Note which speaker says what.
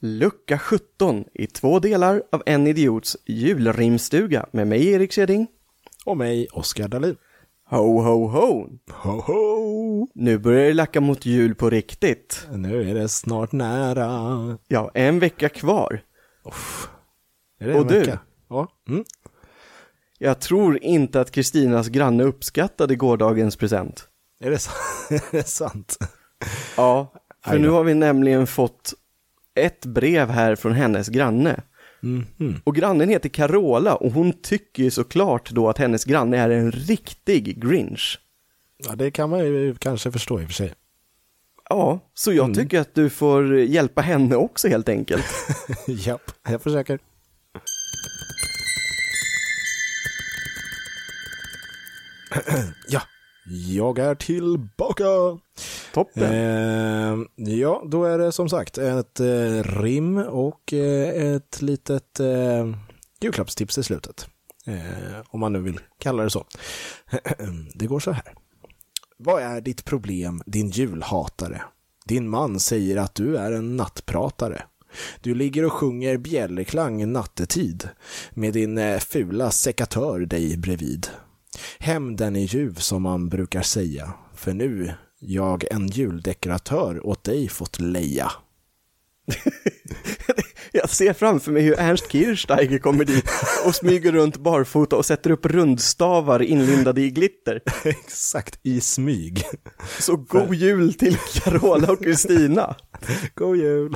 Speaker 1: Lucka 17 i två delar av En Idiots julrimstuga med mig Erik Kjeding.
Speaker 2: Och mig, Oskar Dahlin.
Speaker 1: Ho, ho, ho!
Speaker 2: Ho, ho!
Speaker 1: Nu börjar det lacka mot jul på riktigt.
Speaker 2: Nu är det snart nära.
Speaker 1: Ja, en vecka kvar.
Speaker 2: Är det
Speaker 1: Och
Speaker 2: en
Speaker 1: du?
Speaker 2: vecka? Ja. Mm.
Speaker 1: Jag tror inte att Kristinas granne uppskattade gårdagens present.
Speaker 2: Är, det sant? är det sant?
Speaker 1: Ja, för
Speaker 2: Aj
Speaker 1: nu
Speaker 2: då.
Speaker 1: har vi nämligen fått ett brev här från hennes granne.
Speaker 2: Mhm.
Speaker 1: Och grannen heter Carola och hon tycker ju såklart då att hennes granne är en riktig grinch.
Speaker 2: Ja, det kan man ju kanske förstå i och för sig.
Speaker 1: Ja, så jag tycker att du får hjälpa henne också helt enkelt.
Speaker 2: Japp, jag försöker. ja, jag är tillbaka.
Speaker 1: Toppen.
Speaker 2: Ehm, ja, då är det som sagt ett eh, rim och eh, ett litet eh, julklappstips i slutet. Eh, om man nu vill kalla det så. det går så här. Vad är ditt problem, din julhatare? Din man säger att du är en nattpratare. Du ligger och sjunger bjällerklang nattetid med din eh, fula sekatör dig bredvid. Hämnden är ljuv som man brukar säga, för nu jag en juldekoratör åt dig fått leja.
Speaker 1: Jag ser framför mig hur Ernst Kirchsteiger kommer dit och smyger runt barfota och sätter upp rundstavar inlindade i glitter.
Speaker 2: Exakt, i smyg.
Speaker 1: Så god jul till Carola och Kristina.
Speaker 2: God jul!